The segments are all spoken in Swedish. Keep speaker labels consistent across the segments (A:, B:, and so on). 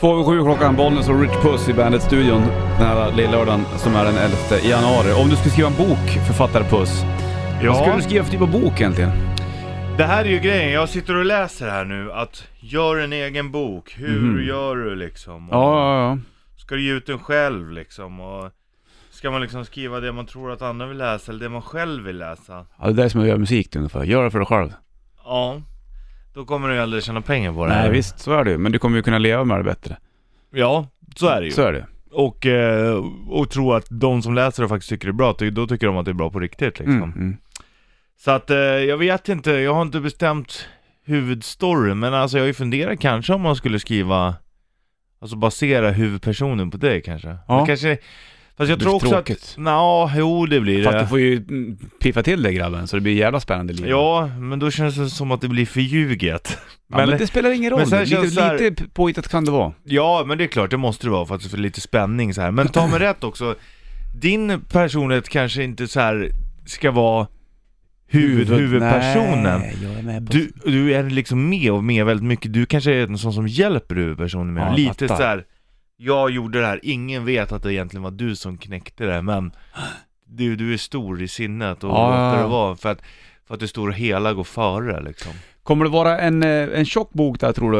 A: Två över sju klockan, Bollnäs och Rich Puss i Bandit-studion den här lillördagen som är den 11 januari. Om du skulle skriva en bok, författare Puss, vad skulle du skriva för typ av bok egentligen?
B: Det här är ju grejen, jag sitter och läser här nu att gör en egen bok, hur gör du liksom? Och
A: Mhm. Ja, ja, ja.
B: Ska du ge ut den själv liksom? Och ska man liksom skriva det man tror att andra vill läsa eller det man själv vill läsa?
A: ja det där är som att göra musik ungefär. Gör det för dig själv.
B: Ja, då kommer du ju aldrig tjäna pengar på det
A: Nej
B: här.
A: visst, så är det ju. Men du kommer ju kunna leva med det bättre.
B: Ja, så är det ju.
A: Så är det
B: Och, eh, och tro att de som läser det faktiskt tycker det är bra, ty- då tycker de att det är bra på riktigt liksom.
A: mm, mm.
B: Så att eh, jag vet inte, jag har inte bestämt huvudstoryn, men alltså jag har ju funderat kanske om man skulle skriva, alltså basera huvudpersonen på dig kanske.
A: Ja.
B: Men kanske fast jag
A: Det
B: tror
A: blir
B: också
A: tråkigt.
B: att, nja, jo det blir
A: Fast du
B: det.
A: får ju mm, piffa till dig grabben, så det blir jävla spännande liv.
B: Ja, men då känns det som att det blir för ljuget.
A: Ja, men, det spelar ingen roll.
B: men sen
A: lite,
B: känns det så här-
A: lite påhittat kan det vara.
B: Ja, men det är klart, det måste det vara för att få lite spänning så här. Men ta mig rätt också, din personlighet kanske inte så här ska vara huvud, huvudpersonen.
A: Nej, jag är med på...
B: Du, du är liksom med och med väldigt mycket, du kanske är en sån som hjälper huvudpersonen med
A: Ja, jag
B: lite
A: fattar.
B: så här. Jag gjorde det här, ingen vet att det egentligen var du som knäckte det men du, du är stor i sinnet och
A: Ja, ja,
B: låter
A: ja.
B: det vara för att, för att det stora hela går före liksom
A: Kommer det vara en, eh, en tjock bok där tror du?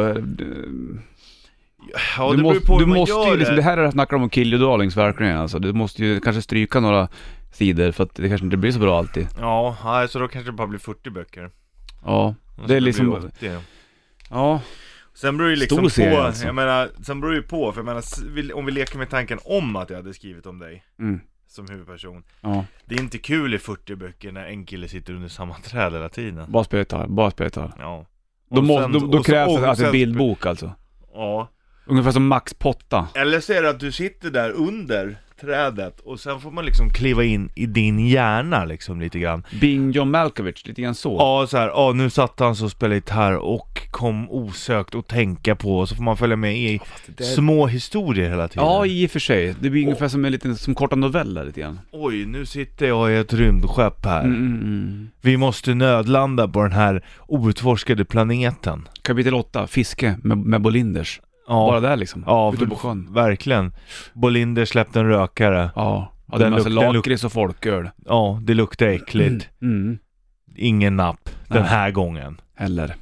B: Ja,
A: du
B: det beror
A: måste,
B: ju på hur
A: du
B: man
A: måste
B: gör
A: ju liksom, det
B: det
A: här är det snackar om kill your darlings verkligen alltså. Du måste ju kanske stryka några sidor för att det kanske inte blir så bra alltid.
B: Ja, nej, så då kanske det bara blir 40 böcker
A: Ja,
B: Och så
A: det är
B: blir
A: liksom...
B: 80.
A: Ja,
B: Sen beror ju liksom
A: Stor serie,
B: på,
A: alltså.
B: jag menar, sen beror ju på, för jag menar, s- vill- om vi leker med tanken om att jag hade skrivit om dig
A: mm,
B: som huvudperson
A: ja.
B: Det är inte kul i 40 böcker när en kille sitter under samma träd hela tiden.
A: Bara spötar, bara spötar.
B: Ja.
A: Då,
B: Och
A: måste,
B: sen-
A: då,
B: och
A: då
B: så-
A: krävs
B: och
A: det alltså en
B: sen-
A: bildbok alltså.
B: Ja.
A: Ungefär som Max Potta.
B: Eller så är det att du sitter där under trädet och sen får man liksom kliva in i din hjärna liksom lite grann.
A: Bing John Malkovich, lite grann så.
B: Ja, så här, ja nu satt han så och spelade gitarr och kom osökt och tänka på och så får man följa med i små historier hela tiden.
A: Ja, i och för sig. Det blir ungefär som en liten, som korta noveller lite grann.
B: Oj, nu sitter jag i ett rymdskepp här.
A: Mm, mm, mm.
B: Vi måste nödlanda på den här outforskade planeten.
A: Kapitel 8, Fiske med, med Bolinders.
B: Ja.
A: Bara där liksom.
B: Ja,
A: Ute
B: för-
A: på sjön.
B: Verkligen. Bolinder släppte en rökare.
A: Ja. ja det är en
B: Den
A: massa
B: luk- den luk-
A: lakrits och folköl.
B: Ja, det luktar äckligt.
A: Mm.
B: Ingen napp den
A: Nej.
B: här gången.
A: Eller.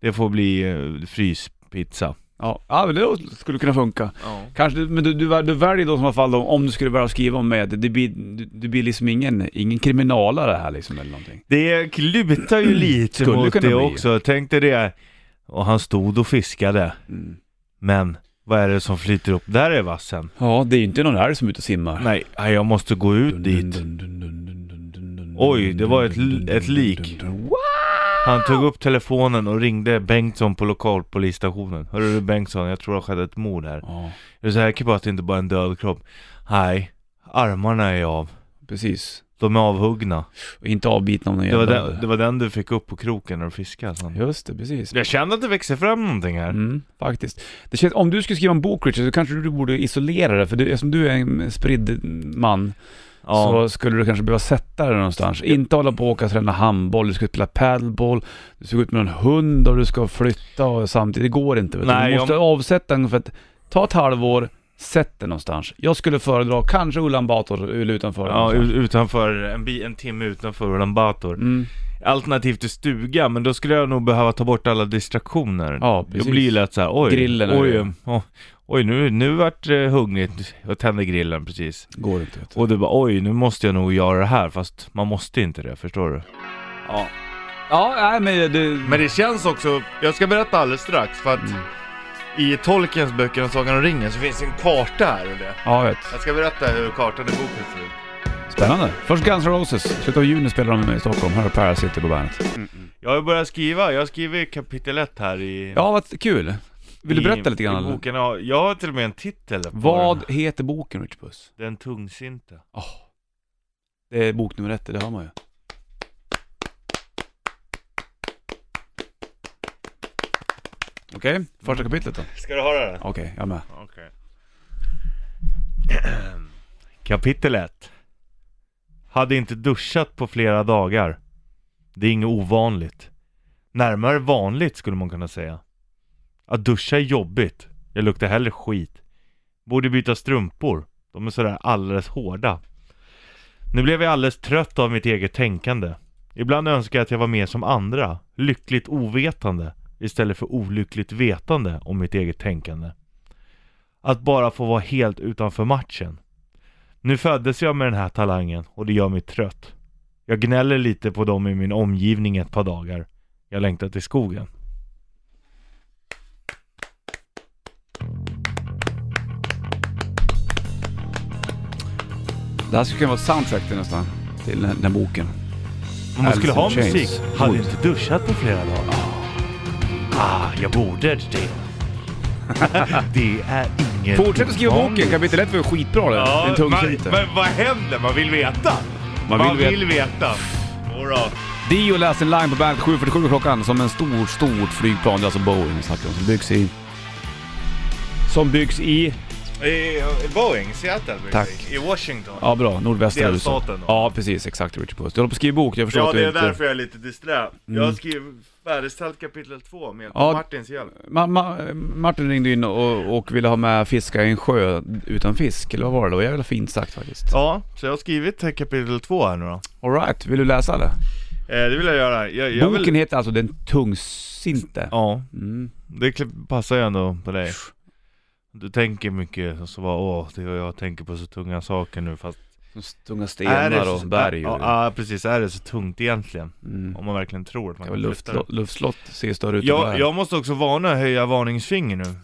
B: Det får bli eh, fryspizza.
A: Ja, ja men det skulle kunna funka. Kanske, men du, du, du väljer då som i alla fall om, om du skulle börja skriva om mig, det, det, blir, du, det blir liksom ingen, ingen kriminalare här liksom eller någonting.
B: Det lutar ju lite
A: Mm. Skulle
B: mot det
A: kunna bli.
B: också. Tänk dig det. Och han stod och fiskade.
A: Mm.
B: Men vad är det som flyter upp? Där är vassen.
A: Ja, det är ju inte någon här som är ute och simmar.
B: Nej, nej, jag måste gå ut dit. Oj, det var ett l- ett lik. Han tog upp telefonen och ringde Bengtsson på lokalpolisstationen. Hörru du Bengtsson, jag tror det har skett ett mord här.
A: Ja,
B: Är det så här att det inte bara är en död kropp? Nej, armarna är av.
A: precis.
B: De är avhuggna.
A: Och inte avbiten av någon
B: Det var,
A: jävla-
B: den, det var den du fick upp på kroken när du fiskade sen.
A: Just det, precis.
B: Jag känner att det växer fram någonting här.
A: Mm, faktiskt. Det känns, om du skulle skriva en bok Richard, så kanske du borde isolera det, för du, eftersom du är en spridd man,
B: Ja.
A: så skulle du kanske behöva sätta det någonstans. Inte hålla på och åka och träna handboll, du ska spela padelboll, du ska gå ut med en hund och du ska flytta och samtidigt, det går inte. Vet du.
B: Nej,
A: du
B: jag-
A: måste avsätta ungefär ett, ta ett halvår, sätt det någonstans. Jag skulle föredra kanske Ulan Bator eller utanför.
B: Ja,
A: någonstans.
B: u- utanför, en, bi, en timme utanför Ulan Bator.
A: mm.
B: Alternativt till stuga, men då skulle jag nog behöva ta bort alla distraktioner.
A: ja
B: det
A: precis.
B: blir ju lätt såhär, oj,
A: Grillen är
B: oj,
A: ju-
B: oj, oj, nu, nu vart det hungrigt. Jag tände grillen precis.
A: Går inte. Vet du.
B: Och du bara, oj, nu måste jag nog göra det här, fast man måste inte det, förstår du?
A: Ja. Ja, nej men det...
B: Men det känns också, jag ska berätta alldeles strax för att
A: Mm.
B: i Tolkiens böcker om Sagan om ringen så finns en karta här och det.
A: Ja, jag vet.
B: Jag ska berätta hur kartan i boken ser ut.
A: Spännande. Först Guns N' Roses. Slutet av juni spelar de i Stockholm. Här är Parasite på bandet.
B: Jag har ju börjat skriva, jag skriver kapitel 1 här i...
A: Ja, vad kul. Vill du
B: i-
A: berätta lite grann?
B: I
A: eller?
B: boken, ja, jag har till och med en titel på Den.
A: Vad heter boken, Rich Puss?
B: Den tungsinta.
A: Oh. Det är bok nummer ett, det hör man ju. Okej, första kapitlet då.
B: Ska du höra det?
A: Okej, jag med.
B: Okej. Kapitel 1 Hade inte duschat på flera dagar. Det är inget ovanligt. Närmare vanligt skulle man kunna säga. Att duscha är jobbigt. Jag luktar hellre skit. Borde byta strumpor. De är sådär alldeles hårda. Nu blev jag alldeles trött av mitt eget tänkande. Ibland önskar jag att jag var mer som andra, lyckligt ovetande istället för olyckligt vetande om mitt eget tänkande. Att bara få vara helt utanför matchen. Nu föddes jag med den här talangen och det gör mig trött. Jag gnäller lite på dem i min omgivning ett par dagar. Jag längtar till skogen.
A: Det här skulle kunna vara soundtracken nästan, till den, den boken.
B: Om man skulle ha
A: Alice in Chains.
B: musik, hade
A: Wood.
B: inte duschat på flera dagar. Ah, jag borde det. det är inget
A: Fortsätt att skriva
B: ovanligt.
A: boken, kapitel 1 var ju skitbra det.
B: Ja,
A: det är en tung
B: man,
A: titel.
B: men vad händer? Man vill veta.
A: Man vill veta.
B: veta. Jodå.
A: Dio läste en line på bandet 7.47 klockan som en stor, stort flygplan. Det är alltså Boeing vi snackar om, som byggs i... Som byggs i...
B: I eh, Boeing, Seattle. byggs
A: Tack.
B: i. I Washington.
A: Ja bra, nordvästra USA.
B: Delstaten då.
A: Ja precis, exakt Richard Puss. Du håller på att skriva bok, jag förstår
B: Ja,
A: att
B: det
A: du
B: är
A: inte...
B: därför jag är lite disträ. Jag har skrivit färdigställt kapitel 2 med hjälp
A: Ja.
B: av Martins hjälp.
A: Ma ma Martin ringde in och, och ville ha med fiska i en sjö utan fisk, eller vad var det då? Jag vill ha fint sagt faktiskt.
B: Ja, så jag har skrivit eh, kapitel 2 här nu då.
A: Alright, vill du läsa det?
B: Eh, det vill jag göra. Jag, jag
A: Boken
B: vill...
A: heter alltså Den tungsinte.
B: Ja,
A: Mm.
B: det kli- passar ju ändå på dig. Du tänker mycket och så bara åh, det och jag tänker på så tunga saker nu fast
A: Som
B: Äh,
A: Tunga stenar och berg
B: Ja,
A: och...
B: ja, precis. Är det så tungt egentligen?
A: Mm.
B: Om man verkligen tror att man
A: Det var
B: kan
A: luft,
B: lyfta det.
A: luftslott ser större ut än vad det
B: Jag,
A: är.
B: jag måste också varna och höja varningsfinger nu. För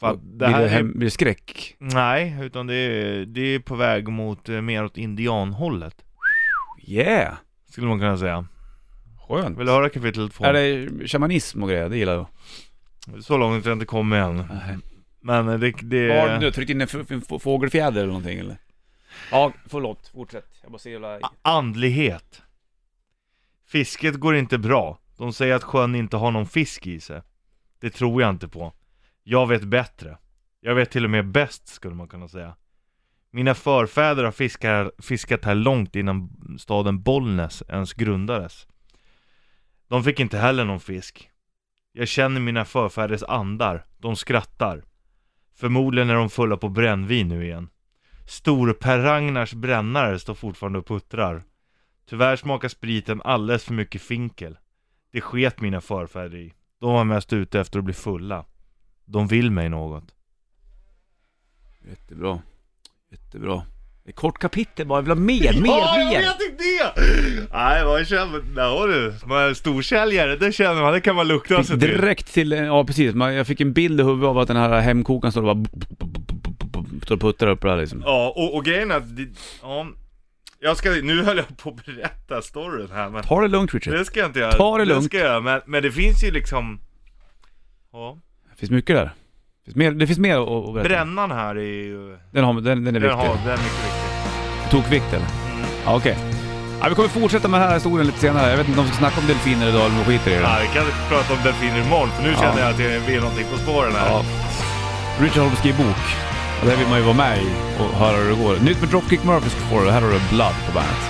A: Vad-
B: att det
A: Blir
B: här
A: det,
B: är,
A: hem, blir det skräck?
B: Nej, utan det är, det är på väg mot, eh, mer åt indianhållet.
A: Yeah!
B: Skulle man kunna säga.
A: Skönt.
B: Vill du höra kapitel 2?
A: Är det shamanism och grejer? Det gillar jag. Äh.
B: Så långt har jag inte kommit än. Men eh, det... Mm. det...
A: Har du nu tryckt in en f- f- f- fågelfjäder eller någonting eller? Ja, förlåt. Fortsätt. Jag bara ser jävla...
B: A- Andlighet. Fisket går inte bra. De säger att sjön inte har någon fisk i sig. Det tror jag inte på. Jag vet bättre. Jag vet till och med bäst skulle man kunna säga. Mina förfäder har fiskar, fiskat här långt innan staden Bollnäs ens grundades. De fick inte heller någon fisk. Jag känner mina förfäders andar. De skrattar. Förmodligen är de fulla på brännvin nu igen. Stor-Per Ragnars brännare står fortfarande och puttrar. Tyvärr smakar spriten alldeles för mycket finkel. Det sket mina förfäder i. De var mest ute efter att bli fulla. De vill mig något.
A: Jättebra. Jättebra. Det är kort kapitel bara. Jag vill ha mer, mer, mer.
B: inte det! Nej, man känner... Nej, du. Man är storsäljare, det känner man. Det kan man lukta
A: Fick direkt till, eh, ja precis, Man- jag fick en bild i huvudet av att den här hemkokaren står och bara står och puttrar upp det här liksom.
B: Ja, och, och grejen är att... det- Ja, jag ska... Nu höll jag på att berätta storyn här, men...
A: Ta det lugnt Richard.
B: Det ska jag inte göra.
A: Ta det lugnt.
B: ska jag göra, men, men det finns ju liksom... Ja.
A: Det finns mycket där. Det finns mer, det finns mer att att berätta.
B: Brännan här är ju...
A: Den, har, Mm. den, den är
B: Den, har,
A: viktig.
B: den är mycket viktig.
A: Tokvikt eller? Ja, okej. Ja, vi kommer fortsätta med den här historien lite senare. Jag vet inte om vi ska snacka om delfiner idag eller om vi skiter i det.
B: Ja, vi kan prata om delfiner imorgon för nu känner jag att det- vi är någonting på spåren här.
A: Ja. Richard Holmes skriver bok. Och där vill man ju vara med i och höra hur det går. Nytt med Dropkick Murphys får du. Här har du Blood på bandet.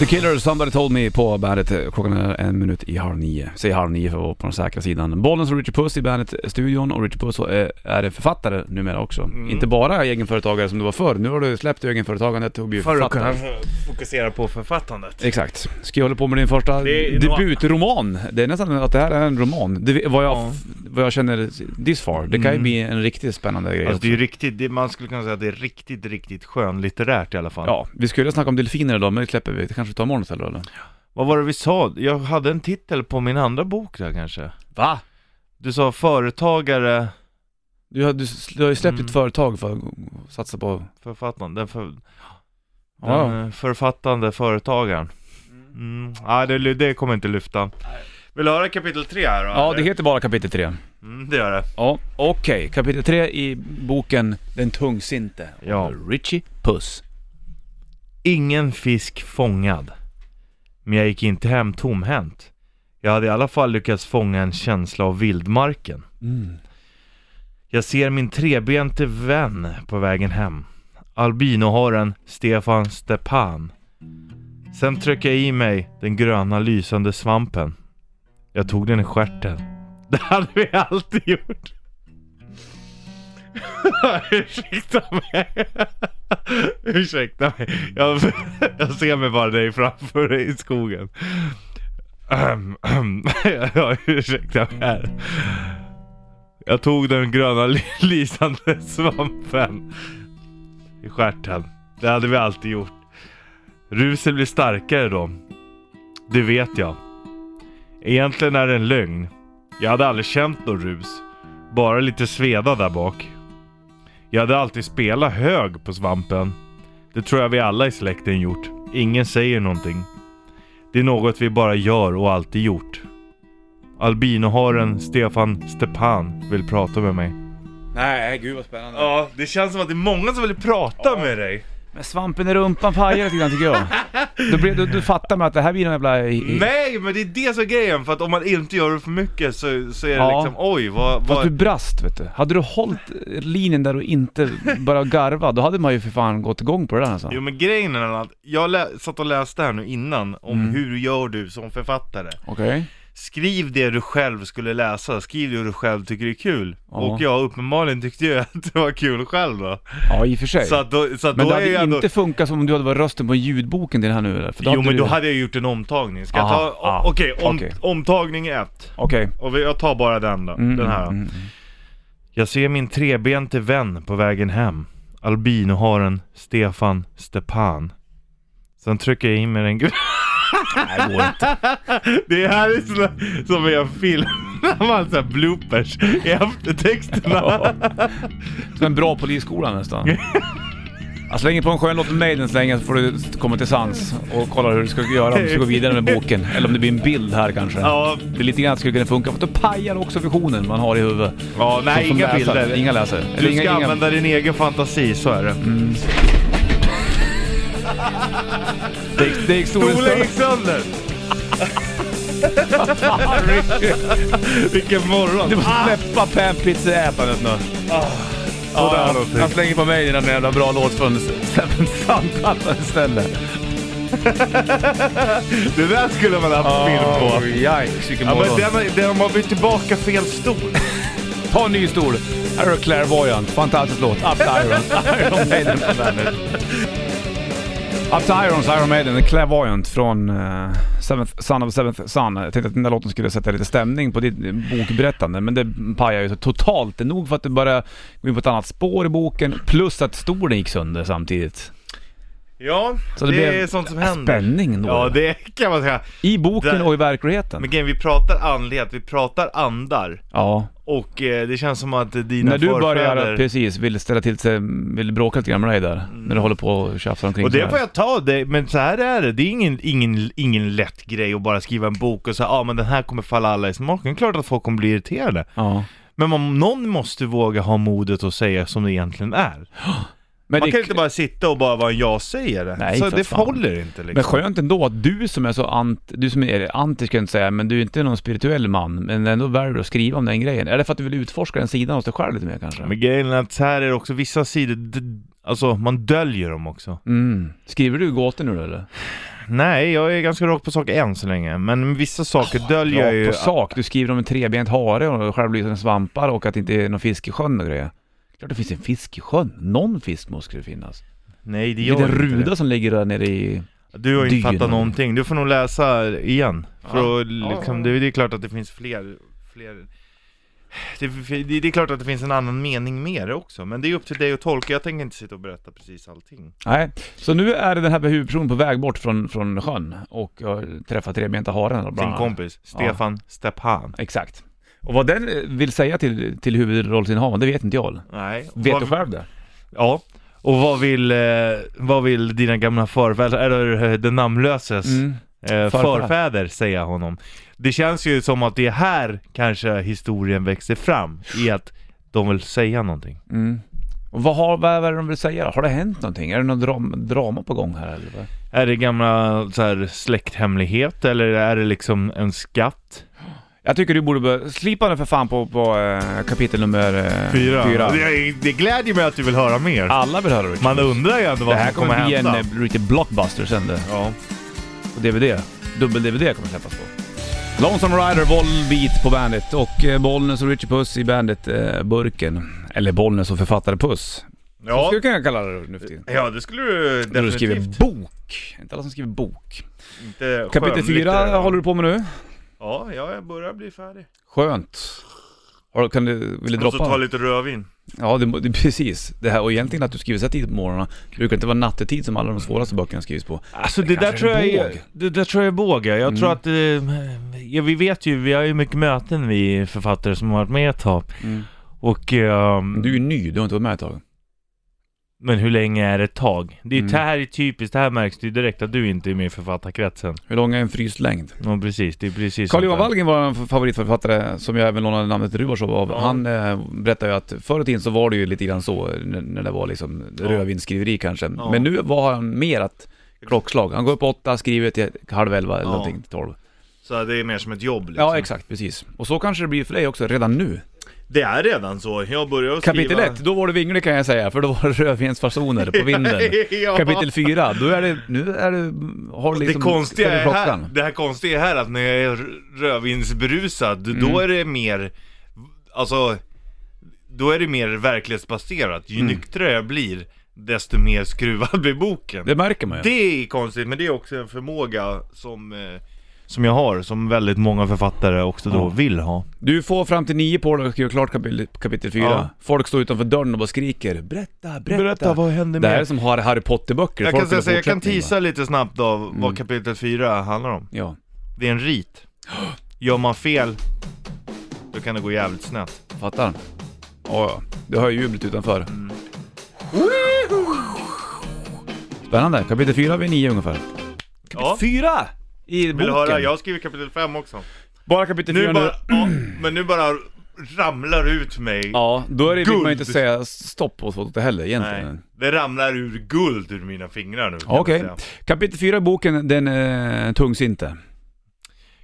A: The Killer, Somebody Told Me på bandet. Klockan är en minut i halv nio. Säg halv nio för att vara på den säkra sidan. Bollen som Richard Puss i bandet-studion och Richard Puss är, är en författare numera också. Inte bara egenföretagare som du var förr. Nu har du släppt egenföretagandet och blivit
B: För att
A: författare.
B: kunna fokusera på författandet.
A: Exakt. Ska jag hålla på med din första
B: Det är nog-
A: debutroman? Det är nästan att det här är en roman. Det, vad, jag,
B: Ja. Mm.
A: vad jag känner this far. Det kan ju bli en riktigt spännande grej
B: Alltså det
A: också.
B: är ju riktigt, det, man skulle kunna säga att det är riktigt, riktigt skönlitterärt i alla fall.
A: Ja, vi skulle snacka om delfiner idag men det släpper vi. Det kanske vi tar imorgon istället eller?
B: Vad var det vi sa? Jag hade en titel på min andra bok där kanske.
A: Va?
B: Du sa företagare,
A: Du, har- du, du har ju släppt
B: Mm.
A: ditt företag för att satsa på...
B: författande, den för,
A: Ja,
B: Den eh, författande företagaren. Mm. Nej, det, det kommer inte lyfta. Vill du höra kapitel 3 här då?
A: ja, det
B: eller?
A: heter bara kapitel 3.
B: Mm, det gör det.
A: Ja, okej. Kapitel 3 i boken Den tungsinte.
B: Ja.
A: Richie Puss.
B: Ingen fisk fångad. Men jag gick inte hem tomhänt. Jag hade i alla fall lyckats fånga en känsla av vildmarken. Jag ser min trebente vän på vägen hem. Albinoharen Stefan Stepan. Sen tryckte jag i mig den gröna lysande svampen. Jag tog den i stjärten. Det hade vi alltid gjort. Ursäkta mig. Ursäkta mig. Jag, jag ser mig bara dig framför dig i skogen. Ahem, ahem. ja, ursäkta mig här. Jag tog den gröna li- lysande svampen i stjärten. Det hade vi alltid gjort. Ruset blir starkare då. Det vet jag. Egentligen är det en lögn. Jag hade aldrig känt någon rus. Bara lite sveda där bak. Jag hade alltid spelat hög på svampen. Det tror jag vi alla i släkten gjort. Ingen säger någonting. Det är något vi bara gör och alltid gjort. Albinoharen Stefan Stepan vill prata med mig.
A: Nej, gud vad spännande.
B: Ja, det känns som att det är många som vill prata med dig.
A: Men svampen i rumpan pajar lite grann tycker jag. Du, blir, du, du fattar med att det här blir en jävla... i- i-
B: Nej, men det är det som är grejen. För att om man inte gör det för mycket så, så är det
A: Ja.
B: liksom oj vad...
A: Fast
B: vad...
A: du brast vet du. Hade du hållit linjen där och inte bara garva, då hade man ju för fan gått igång på det där alltså.
B: Jo men grejen är att jag lä- satt och läste här nu innan om hur gör du som författare.
A: Okej.
B: Skriv det du själv skulle läsa, skriv det du själv tycker är kul.
A: Ja.
B: Och jag uppenbarligen tyckte ju att det var kul själv då.
A: Ja, i och för sig.
B: Så att då, så att
A: men
B: då
A: det
B: är
A: hade
B: jag ändå...
A: inte funkat som om du hade varit rösten på ljudboken till den här nu eller? För
B: Jo men
A: du-
B: då hade jag gjort en omtagning. Ska jag
A: Aha,
B: ta...
A: ah,
B: o- Okej, om...
A: okej.
B: omtagning ett.
A: Okej.
B: Och vi- jag tar bara den då,
A: Mm,
B: den här.
A: mm, mm.
B: Jag ser min trebente vän på vägen hem. Albinoharen Stefan Stepan. Sen trycker jag in med den gr-
A: Nej, det går inte.
B: Det här är såna, som i en film. När man såhär bloopers i eftertexterna.
A: Som en bra polisskola nästan. Jag slänger på en skön låt med Maiden så länge så får du komma till sans och kolla hur du ska göra om du ska gå vidare med boken. Eller om det blir en bild här kanske.
B: Ja.
A: Det är lite grann skulle kunna funka, för då pajar också visionen man har i huvudet.
B: Ja, nej
A: Som
B: inga
A: läsare.
B: bilder.
A: Inga läsare. Eller
B: du ska
A: inga, inga... Mm.
B: använda din egen fantasi, så är det.
A: Det gick- Det gick stor
B: Stolen gick sönder! Vilken morgon!
A: Du måste släppa panpizzaätandet nu.
B: Ja,
A: Sådär.
B: någonting.
A: Han slänger på mig den där jävla bra låt från Seven Sandplattan istället.
B: Det där skulle man haft film på.
A: Yikes, vilken
B: Ja, men
A: morgon.
B: den, den, man bytt tillbaka fel stol.
A: Ta en ny stol. Här har du Clairvoyant. Fantastisk låt. Up to Irons. Iron Maiden på bandet. Up to Irons, Iron Maiden. Clairvoyant från eh, Seventh Son of Seventh Son. Jag tänkte att den där låten skulle sätta lite stämning på ditt bokberättande, men det pajar ju totalt. Det är nog för att det börjar gå in på ett annat spår i boken, plus att stolen gick sönder samtidigt.
B: Ja,
A: Så det
B: det,
A: blev
B: är sånt som händer.
A: Spänning då.
B: Ja, det kan man säga.
A: I boken
B: Där.
A: och i verkligheten.
B: Men grejen, vi pratar andlighet, vi pratar andar.
A: Ja.
B: Och eh, det känns som att dina
A: När du
B: förfäder...
A: börjar, att precis, vill ställa till sig, vill bråka lite grann med dig där. När du håller på och tjafsar omkring
B: Mm. Och
A: så
B: det
A: här.
B: får jag ta, det, men så här är det. Det är ingen, ingen, ingen lätt grej att bara skriva en bok och säga ja ah, men den här kommer falla alla i smaken. Det är klart att folk kommer bli irriterade.
A: Ja.
B: Men man, någon måste våga ha modet att säga som det egentligen är.
A: Men,
B: Man
A: det,
B: kan inte bara sitta och bara vara en ja-sägare.
A: Nej,
B: så
A: för
B: det
A: fan.
B: håller inte
A: men
B: liksom.
A: skönt ändå att du som är så ant, du som är anti ska jag inte säga, men du är inte någon spirituell man, men ändå väljer att skriva om den grejen. Är det för att du vill utforska den sidan hos dig själv lite mer kanske?
B: Men grejen är att så här är det också, vissa sidor, d- alltså man döljer dem också.
A: Mm. Skriver du gåtor nu då, eller?
B: Nej, jag är ganska rakt på sak än så länge. Men vissa saker döljer jag
A: Ja,
B: ju.
A: på sak. Du skriver om en trebent hare och självlysande svampar och att det inte är någon fisk i sjön och grejer. Klart det finns en fisk i sjön. Någon fisk måste det finnas.
B: Nej, det
A: Det är
B: gör
A: den
B: inte
A: ruda som ligger där nere i...
B: det. Du har ju inte
A: dyn.
B: fattat någonting. Du får nog läsa igen. För att,
A: Ja.
B: liksom, det, det är klart att det finns fler... fler... Det, det, det är klart att det finns en annan mening med det också. Men det är upp till dig att tolka. Jag tänker inte sitta och berätta precis allting.
A: Nej, så nu är den här huvudpersonen på väg bort från, från sjön och jag träffar trebenta haren då, bland
B: Din
A: annat.
B: kompis, Stefan Stepan.
A: Exakt. Och vad den eh, vill säga till, till huvudrollsinnehavaren, det vet inte jag.
B: Nej.
A: Vet
B: vad,
A: du själv det?
B: Ja. Och vad vill, eh, vad vill dina gamla förfäder, eller eh, den namnlöses
A: Mm.
B: eh,
A: Förfäder.
B: förfäder säga honom. Det känns ju som att det är här kanske historien växer fram, i att de vill säga någonting.
A: Mm. Och vad, har, vad är det de vill säga då? Har det hänt någonting? Är det någon dram, drama på gång här eller? vad?
B: Är det gamla så här, släkthemlighet eller är det liksom en skatt?
A: Jag tycker du borde börja... Slipa den för fan på, på eh, kapitel nummer eh,
B: Det, det glädjer mig att du vill höra mer.
A: Alla vill höra det.
B: Man undrar ju ändå
A: Det
B: vad
A: här
B: som kommer
A: kommer bli en
B: hända.
A: eh, riktig blockbuster sen eh. det.
B: Ja.
A: på DVD. Dubbel-DVD kommer släppas på. Lonesome Rider, Volbeat på bandet och eh, Bollnäs och Richie Puss i bandet eh, Burken. Eller Bollnäs och författare Puss. Så
B: Ja,
A: skulle jag kunna kalla det nu för tiden.
B: ja det skulle du
A: När du skriver
B: definitivt.
A: bok. Inte alla som skriver bok.
B: Inte
A: Kapitel 4 håller du på med nu.
B: Ja, ja, jag börjar bli färdig.
A: Skönt. Har, du- kan du, vill du
B: Jag måste
A: droppa?
B: Alltså, ta lite rödvin.
A: Ja, det, det, precis. Det här, och egentligen att du skriver så här tidigt på morgonen. Det brukar inte vara nattetid som alla de svåraste böckerna skrivs på.
B: Alltså det, där
A: kanske
B: tror
A: är
B: jag
A: en
B: är,
A: båg.
B: det där tror jag är båg ja. Jag
A: Mm.
B: tror att, eh, ja, vi vet ju, vi har ju mycket möten vi författare som har varit med ett tag. Och, ehm,
A: Du är ju ny, du har inte varit med ett tag.
B: men hur länge är det ett tag? Det, är,
A: Mm.
B: det här är typiskt, det här märks det ju direkt att du inte är med i författarkretsen.
A: Hur lång är en fryst längd?
B: Ja precis, det är precis
A: Carl
B: sånt
A: Johan
B: där.
A: Wallgren var en f- favoritförfattare som jag även lånade namnet Rubashov av.
B: Ja.
A: Han eh, berättade ju att förr i tiden så var det ju lite grann så, n- när det var liksom
B: Ja.
A: rödvinsskriveri kanske.
B: Ja.
A: Men nu var han mer att klockslag. Han går upp åtta, skriver till halv elva eller
B: Ja.
A: någonting, till tolv.
B: Så det är mer som ett jobb liksom.
A: Ja, exakt, precis. Och så kanske det blir för dig också redan nu.
B: Det är redan så, jag börjar att skriva...
A: Kapitel 1, då var det vinglig kan jag säga, för då var det rödvinsfasoner på vinden.
B: ja.
A: Kapitel 4, då är det, nu är det, har
B: Det
A: liksom
B: konstiga
A: ställer
B: är
A: klockan.
B: här, det här konstiga är här att när jag är r- rödvinsberusad,
A: Mm.
B: då är det mer, alltså, då är det mer verklighetsbaserat. Ju
A: Mm.
B: nyktrare jag blir, desto mer skruvad blir boken. Det,
A: Det märker man ju.
B: är konstigt, men det är också en förmåga som, eh, som jag har, som väldigt många författare också då
A: Ja.
B: vill ha.
A: Du får fram till nio på dig att skriva klart kapitel, kapitel 4.
B: Ja.
A: Folk står utanför dörren och bara skriker ”Berätta, berätta”.
B: vad händer
A: det här är som har Harry Potter-böcker.
B: Jag
A: Folk
B: kan, säga,
A: vill ha
B: så jag kan
A: fortsättning, va? Mm.
B: tisa lite snabbt av vad kapitel 4 handlar om.
A: Ja.
B: Det är en rit. Gör man fel, då kan det gå jävligt snett.
A: Fattar? Ja, ja. Du hör ju jublet utanför. Spännande. Kapitel 4 vid 9 ungefär.
B: Ja.
A: Fyra! I
B: Vill
A: boken.
B: du höra? Jag har skrivit kapitel 5 också.
A: Bara kapitel 4
B: Nu
A: nu.
B: bara, ja, men nu bara ramlar ut mig.
A: Ja, då är det, vill man ju inte
B: Guld.
A: säga stopp åt åt det heller egentligen.
B: Nej, det ramlar ur guld ur mina fingrar nu. kan jag
A: Okej.
B: säga.
A: Kapitel 4 i boken, den eh, tungs inte.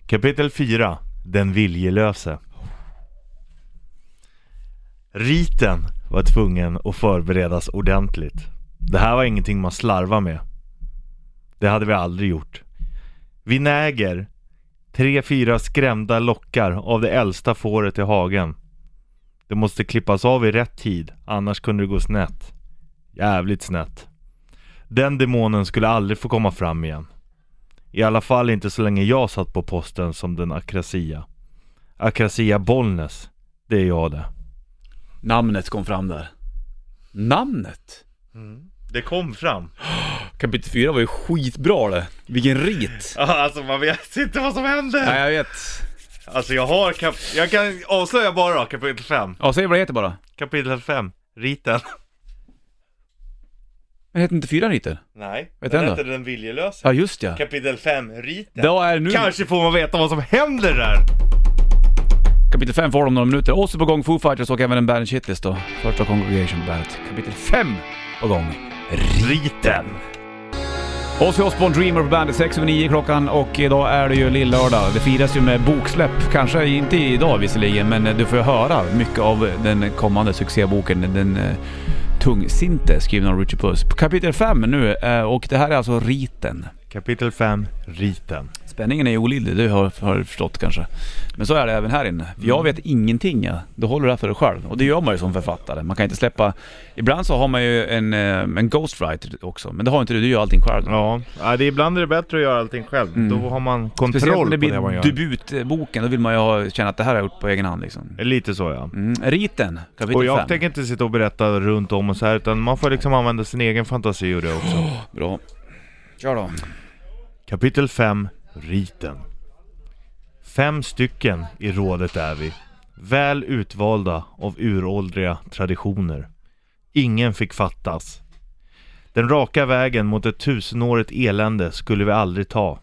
B: Kapitel 4. Den viljelöse. Riten var tvungen att förberedas ordentligt. Det här var ingenting man slarvar med. Det hade vi aldrig gjort. Vinäger. Tre, fyra skrämda lockar av det äldsta fåret i hagen. Det måste klippas av i rätt tid, annars kunde det gå snett. Jävligt snett. Den demonen skulle aldrig få komma fram igen. I alla fall inte så länge jag satt på posten som den akrasia. Akrasia Bollnäs, det är jag det.
A: Namnet kom fram där. Namnet?
B: Det kom fram.
A: Kapitel 4 var ju skitbra det. Vilken rit.
B: Alltså man vet inte vad som händer.
A: Nej jag vet.
B: Alltså jag har kap... Jag kan avslöja bara kapitel 5.
A: Ja, säg vad det heter bara.
B: Kapitel 5, riten.
A: Men heter inte 4 riter?
B: Nej,
A: Vet
B: den
A: den då?
B: heter den viljelösa.
A: Ja, just ja.
B: Kapitel 5, riten.
A: Då är nu
B: Kanske får man veta vad som händer där.
A: kapitel 5 får om några minuter. Och så på gång Foo Fighters och även en band shitlist då. Första Congregation Bandet. Kapitel 5 på gång.
B: Riten.
A: Ozzy Osbourne Dreamer på bandet 6 över 9 klockan och idag är det ju lillördag. Det firas ju med boksläpp. Kanske inte idag visserligen men eh, du får ju höra mycket av den kommande succéboken. Den eh, tungsinte skriven av Richard Puss. Kapitel 5 nu eh, och det här är alltså riten.
B: Kapitel 5, riten.
A: Spänningen är ju olidlig, det har har jag förstått kanske. Men så är det även här inne. För
B: Mm.
A: jag vet ingenting ja. Då håller du det här för dig själv. Och det gör man ju som författare. Man kan inte släppa... Ibland så har man ju en, eh, en ghostwriter också. Men det har inte du, du gör allting själv.
B: Ja, ja, det är ibland är det bättre att göra allting själv. Då har man
A: Speciellt
B: kontroll
A: när det
B: på Mm. det man
A: blir
B: gör.
A: debutboken, då vill man ju ha, känna att det här har jag gjort på egen hand liksom.
B: Lite så ja.
A: Mm. Riten, kapitel
B: Och jag
A: 5.
B: tänker inte sitta och berätta runt om och så här utan man får liksom använda sin egen fantasi och det också.
A: Bra. Kör då.
B: Kapitel 5, Riten. Fem stycken i rådet är vi. Väl utvalda av uråldriga traditioner. Ingen fick fattas. Den raka vägen mot ett tusenårigt elände skulle vi aldrig ta.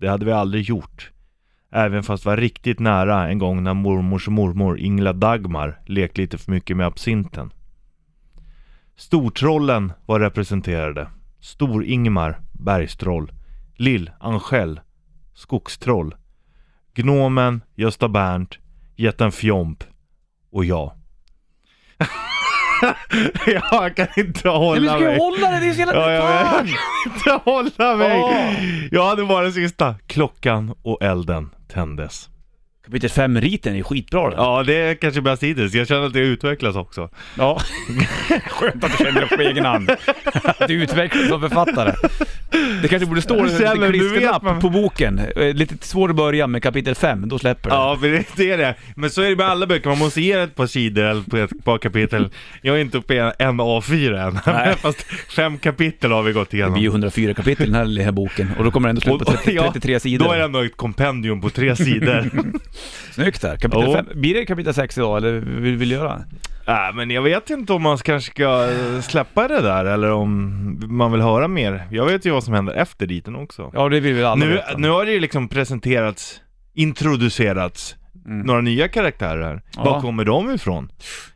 B: Det hade vi aldrig gjort. Även fast vi var riktigt nära en gång när mormors mormor Ingela Dagmar lekte lite för mycket med absinten. Stortrollen var representerade. Stor-Ingmar, bergstroll. Lill Angell, Skogstroll, Gnomen, Gösta Bernt, Jätten Fjomp och jag. jag kan inte hålla mig.
A: hålla det, det är så jävla...
B: Ja, jag, jag kan inte hålla mig.
A: Åh.
B: Jag hade bara den sista. Klockan och elden tändes.
A: Kapitel 5-riten är skitbra den.
B: Ja, det är kanske bäst hittills. Jag känner att det utvecklas också.
A: Ja. Skönt att du känner det på egen hand. Att du utvecklas som författare. Det kanske borde stå en
B: Jävlar,
A: liten
B: nu vet
A: klisterlapp
B: man.
A: på boken. Eh, Lite svår att börja med kapitel 5, då släpper det.
B: Ja, för det- det är det. Men så är det med alla böcker. Man måste ge ett par sidor eller på ett par kapitel. Jag är inte uppe i en A4 än.
A: Nej.
B: Fast fem kapitel har vi gått
A: Det blir ju
B: igenom.
A: 104 kapitel i den här lilla boken och då kommer det ändå slut på
B: Och- och-
A: 30,
B: ja,
A: 33 sidor.
B: Då är det ändå ett kompendium på tre sidor.
A: Snyggt där. Kapitel
B: Ja.
A: 5. Blir det kapitel 6 idag eller vill vill du göra?
B: Nej, men jag vet inte om man kanske ska eh, släppa det där eller om man vill höra mer. Jag vet ju vad som händer efter diten också.
A: Ja det vill vi alla
B: nu,
A: veta.
B: nu har det ju liksom presenterats, introducerats
A: Mm.
B: några nya karaktärer här.
A: Ja.
B: Var kommer de ifrån?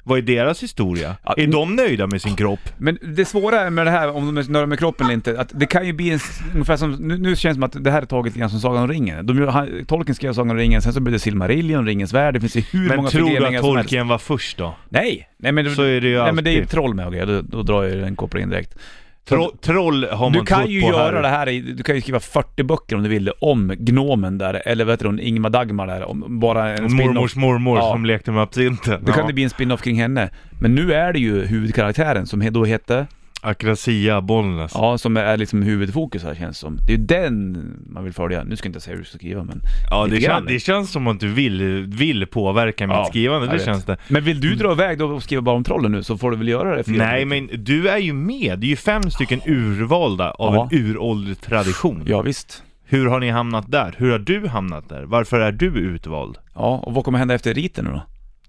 B: Vad är deras historia?
A: Ja,
B: är
A: nu-
B: de nöjda med sin kropp?
A: Men det svåra är med det här, om de är nöjda med kroppen eller inte, att det kan ju bli en, s- ungefär som, nu, nu känns det som att det här är taget lite grann som Sagan om ringen. De, gör- han, Tolkien skrev Sagan om ringen, sen så blev det Silmarillion, Ringens värld, det finns ju hur
B: Men
A: många
B: tror du
A: förgreningar
B: att
A: som helst.
B: Tolkien var först då?
A: Nej! Nej men,
B: Så är det ju
A: nej, men det är ju
B: alltid.
A: troll med och grejer, då, då drar jag ju den kopplingen direkt.
B: Tro, troll har man
A: Du kan
B: trott
A: ju
B: på
A: göra
B: här.
A: det här i, du kan ju skriva 40 böcker om du vill det, om Gnomen där, eller vad heter hon, Ingmar Dagmar där, om bara en spin-off.
B: Mormors mormor
A: Ja.
B: som lekte med absinten.
A: Då kan det bli en spin-off kring henne. Men nu är det ju huvudkaraktären som he- då hette,
B: Akrasia Bollnäs.
A: ja som är liksom huvudfokus här känns som. Det är ju den man vill följa. Nu ska jag inte säga hur du ska skriva men...
B: Ja, det,
A: Lite
B: kän,
A: grann.
B: det känns som att du vill, vill påverka mitt
A: Ja,
B: skrivande,
A: jag
B: det
A: vet.
B: känns det.
A: Men vill du dra iväg då och skriva bara om trollen nu så får du väl göra det. fyra
B: Nej
A: minuter.
B: men du är ju med, det är ju fem stycken urvalda av
A: Ja.
B: en uråldrig tradition.
A: Ja, visst.
B: Hur har ni hamnat där? Hur har du hamnat där? Varför är du utvald?
A: Ja, och vad kommer hända efter riten nu då?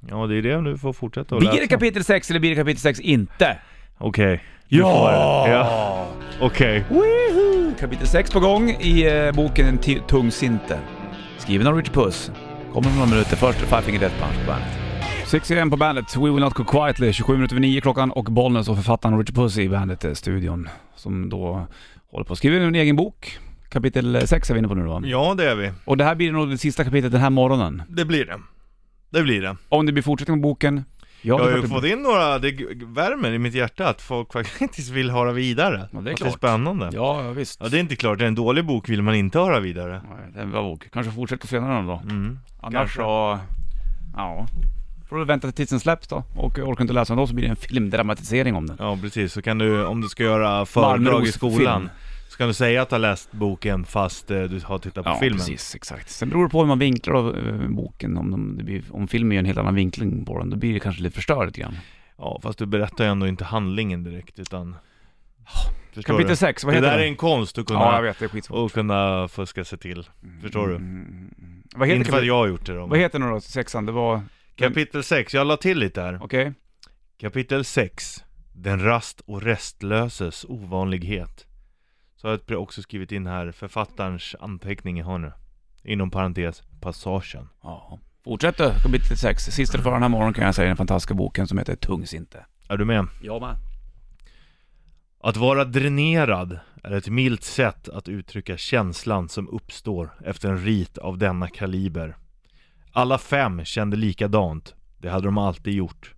B: Ja det är det du får fortsätta att
A: Blir det
B: läsa.
A: kapitel 6 eller blir det kapitel 6 inte?
B: Okej. Du får det. ja. Okej.
A: Woohoo! Kapitel 6 på gång i eh, boken En ti- tung sinter. Skriven av Richard Puss. Kommer om några minuter. Först Five Finger Death Punch på bandet. 6 AM på bandet, We Will Not Go Quietly, 27 minuter över 9 klockan och Bollnäs och författaren Richard Puss i bandet-studion. Som då håller på att skriva en egen bok. Kapitel 6 är vi inne på nu då.
B: Ja det är vi.
A: Och det här blir nog det sista kapitlet den här morgonen.
B: Det blir det. Det blir det.
A: Om det blir fortsättning på boken. Ja,
B: Jag
A: det
B: har
A: är
B: ju
A: klart
B: fått
A: det.
B: in några, det g- värmer i mitt hjärta att folk faktiskt vill höra vidare.
A: Ja, det är
B: Att
A: klart.
B: det är spännande. Ja.
A: Ja, ja, visst.
B: det är inte klart, det är en dålig bok vill man inte höra vidare.
A: Nej, Det är en bra bok. Kanske fortsätter senare någon dag.
B: Mm.
A: Annars så... Ja. Får du vänta tills den släpps då. Och orkar inte läsa den då så blir det en filmdramatisering om den.
B: Ja precis, så kan du, om du ska göra föredrag i
A: Malmros
B: skolan
A: film.
B: Så kan du säga att du har läst boken fast eh, du har tittat på
A: Ja,
B: filmen
A: precis. Exakt. Sen beror det på hur man vinklar av eh, boken. Om, de, det blir, om filmen gör en helt annan vinkling på den, då blir det kanske lite förstört lite grann.
B: Ja fast du berättar ju ändå inte handlingen direkt utan Förstår
A: Kapitel
B: du?
A: 6, vad
B: Det
A: heter
B: där är
A: den?
B: en konst att
A: Ja, jag
B: kunna,
A: vet. Det är skitsvårt.
B: och kunna fuska sig till Förstår du?
A: Mm. Vad heter,
B: Inte för att
A: kapitel,
B: jag har gjort det då
A: vad
B: men-
A: heter den då, sexan? Det var...
B: Kapitel 6, jag la till lite här
A: Okej.
B: Kapitel 6 Den rast och restlöses ovanlighet Så har jag också skrivit in här författarens anteckning i hörnet Inom parentes, passagen
A: Ja. Fortsätt då, kapitel 6. Sista för den här morgonen kan jag säga den fantastiska boken som heter Tungsinte.
B: Är du med?
A: Jag med.
B: Att vara dränerad är ett milt sätt att uttrycka känslan som uppstår efter en rit av denna kaliber. Alla fem kände likadant, det hade de alltid gjort.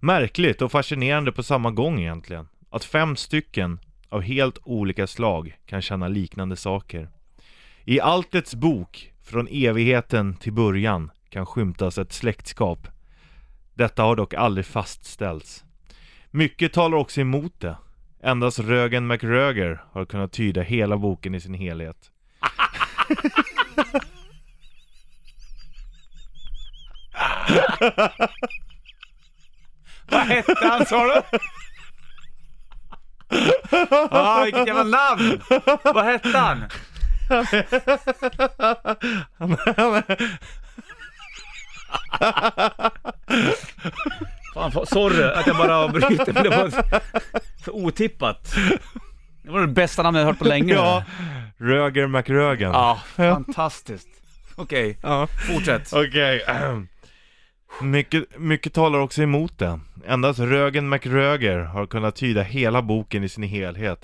B: Märkligt och fascinerande på samma gång egentligen, att fem stycken av helt olika slag kan känna liknande saker. I Altets bok, från evigheten till början, kan skymtas ett släktskap. Detta har dock aldrig fastställts. Mycket talar också emot det. Endast Rögen McRöger har kunnat tyda hela boken i sin helhet.
A: Vad hette han sa du? Ah, vilket jävla namn! Vad hette han? Fan, fa- sorry att jag bara avbryter men det var så otippat. Det var det bästa namnet jag hört på länge.
B: Ja, Röger McRögen.
A: Ja, fantastiskt. Okej,
B: Ja.
A: fortsätt.
B: Okej. ehm. Mycket, mycket talar också emot det. Endast Rögen McRöger har kunnat tyda hela boken i sin helhet.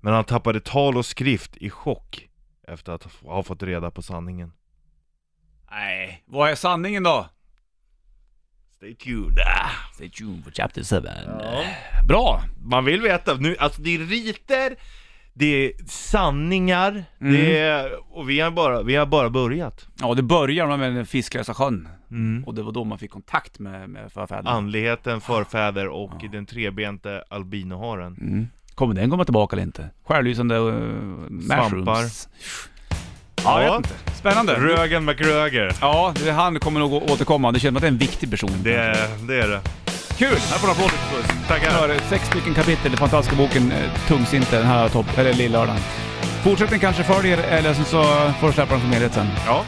B: Men han tappade tal och skrift i chock efter att ha fått reda på sanningen.
A: Nej, vad är sanningen då?
B: Stay tuned.
A: Stay tuned for chapter 7. Bra!
B: Man vill veta, nu, alltså det är riter, det är sanningar, det är, och vi har, bara, vi har bara börjat.
A: Ja, det började med den fisklösa sjön.
B: Mm. Ah.
A: Och det var då man fick kontakt med, med förfäderna.
B: Andligheten, förfäder och den trebente albinoharen.
A: Mm. Kommer den komma tillbaka eller inte? Stjärnlysande uh, mushrooms. Ja, jag vet inte. Spännande.
B: Rögen McRöger.
A: Ja, det, han kommer nog å- återkomma. Det känns som att det är en viktig person.
B: Det är det. Är det.
A: Kul! Här får du applåder Puss.
B: Tackar.
A: För sex stycken kapitel i den fantastiska boken eh, Tungsinter den här topp, eller lillördagen. Fortsättning kanske följer, eller så- så får du släppa den som helhet sen.
B: Ja.